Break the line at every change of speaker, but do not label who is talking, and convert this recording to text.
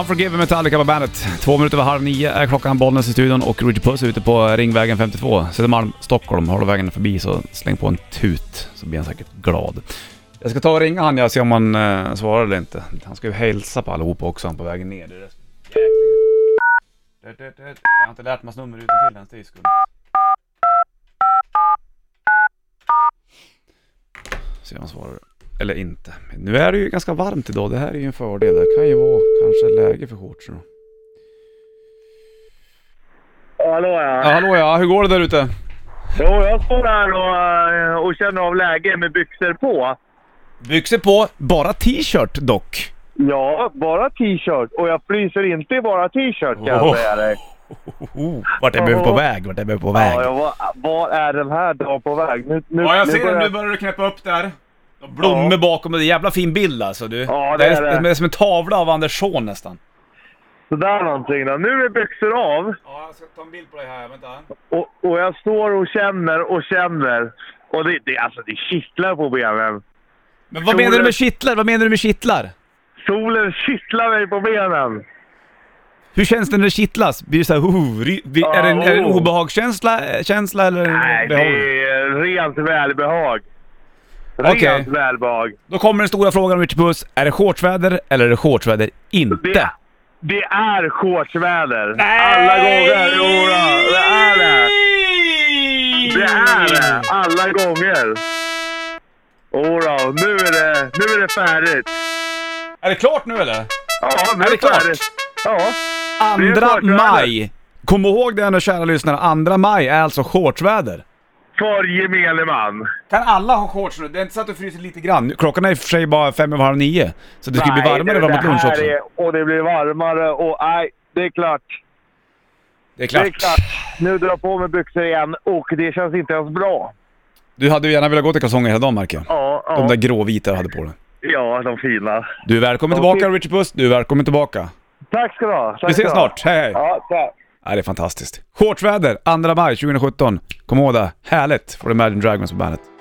Unforgiven Metallica på bandet. Två minuter över halv nio är klockan. Bollnäs i studion och Richard Puss är ute på Ringvägen 52. Södermalm, Stockholm. Håller vägen förbi så släng på en tut så blir han säkert glad. Jag ska ta och ringa han jag ser om han eh, svarar eller inte. Han ska ju hälsa på allihopa också han på vägen ner. Det är det som är jäkligt. Det- det- det- Jag har inte lärt mig hans nummer utan till ens, det är ju skumt. Se om han svarar. Eller inte. Men Nu är det ju ganska varmt idag. Det här är ju en fördel. Det kan ju vara kanske läge för shorts då.
Hallå ja.
Ja, hallå ja, hur går det där ute?
Jo, jag står här och, eh, och känner av läge med byxor på.
Byxor på, bara t-shirt dock.
Ja, bara t-shirt. Och jag fryser inte i bara t-shirt kan jag
Oh.
säga dig.
Oh, vart är Buffe på väg? Vart är Buffe på väg?
Ja, jag var, var är den här dagen på väg? Nu, nu,
Ja, jag
nu
ser det.
börjar-
Nu börjar du knäppa upp där. Och Blommor
Ja.
bakom dig. Jävla fin bild alltså du.
Ja, det är
som-
det.
som en tavla av Andersson nästan.
Sådär någonting då. Nu är byxor av
Ja, jag ska ta en bild på dig här. Vänta.
och, och jag står och känner och känner. Och det, det, alltså, det kittlar på benen.
Men vad menar du med kittlar? Vad menar du med kittlar?
Solen kittlar mig på benen.
Hur känns det när det kittlas? Blir det såhär, oh, ry- blir- är, det en, är det en
Oh.
obehagskänsla eh, känsla, eller?
Nej, det
behag?
är rent välbehag. Rent
Okej.
välbehag.
Då kommer den stora frågan Richard Puss. Är det shortsväder eller är det shortsväder inte?
Det, det är shortsväder. Alla gånger! Jodå, det är det. Det är det. Alla gånger. Jodå, nu är det, nu är det färdigt.
Är det klart nu eller?
Ja, nu
Är
är
det
det
klart?
färdigt. Ja. Det är
Andra
klart, det är
maj! Kom ihåg det nu kära lyssnare, andra maj är alltså shortsväder.
För gemene man.
Kan alla ha shorts nu? Det är inte så att du fryser lite grann. Klockan är i och för sig bara fem över halv nio. Så det skulle bli
Nej,
varmare
det-
framåt
det
lunch
här
också.
är- Och det blir varmare och nej, det är klart.
Det är
Det är
klart.
klart. Nu drar jag på mig byxor igen och det känns inte ens bra.
Du hade ju gärna velat gå till kalsonger hela dagen märker jag.
Ja, ja.
De där gråvita du hade på dig.
Ja, de fina.
Du är välkommen
Ja,
tillbaka Richard Puss, du är välkommen tillbaka.
Tack ska du ha. Tack
Vi
ska
ses
du ha.
snart, hej hej!
Ja, tack.
Ja, det är fantastiskt. Shortsväder, 2 maj 2017. Kom ihåg det. Härligt! Får du Imagine Dragons på bandet.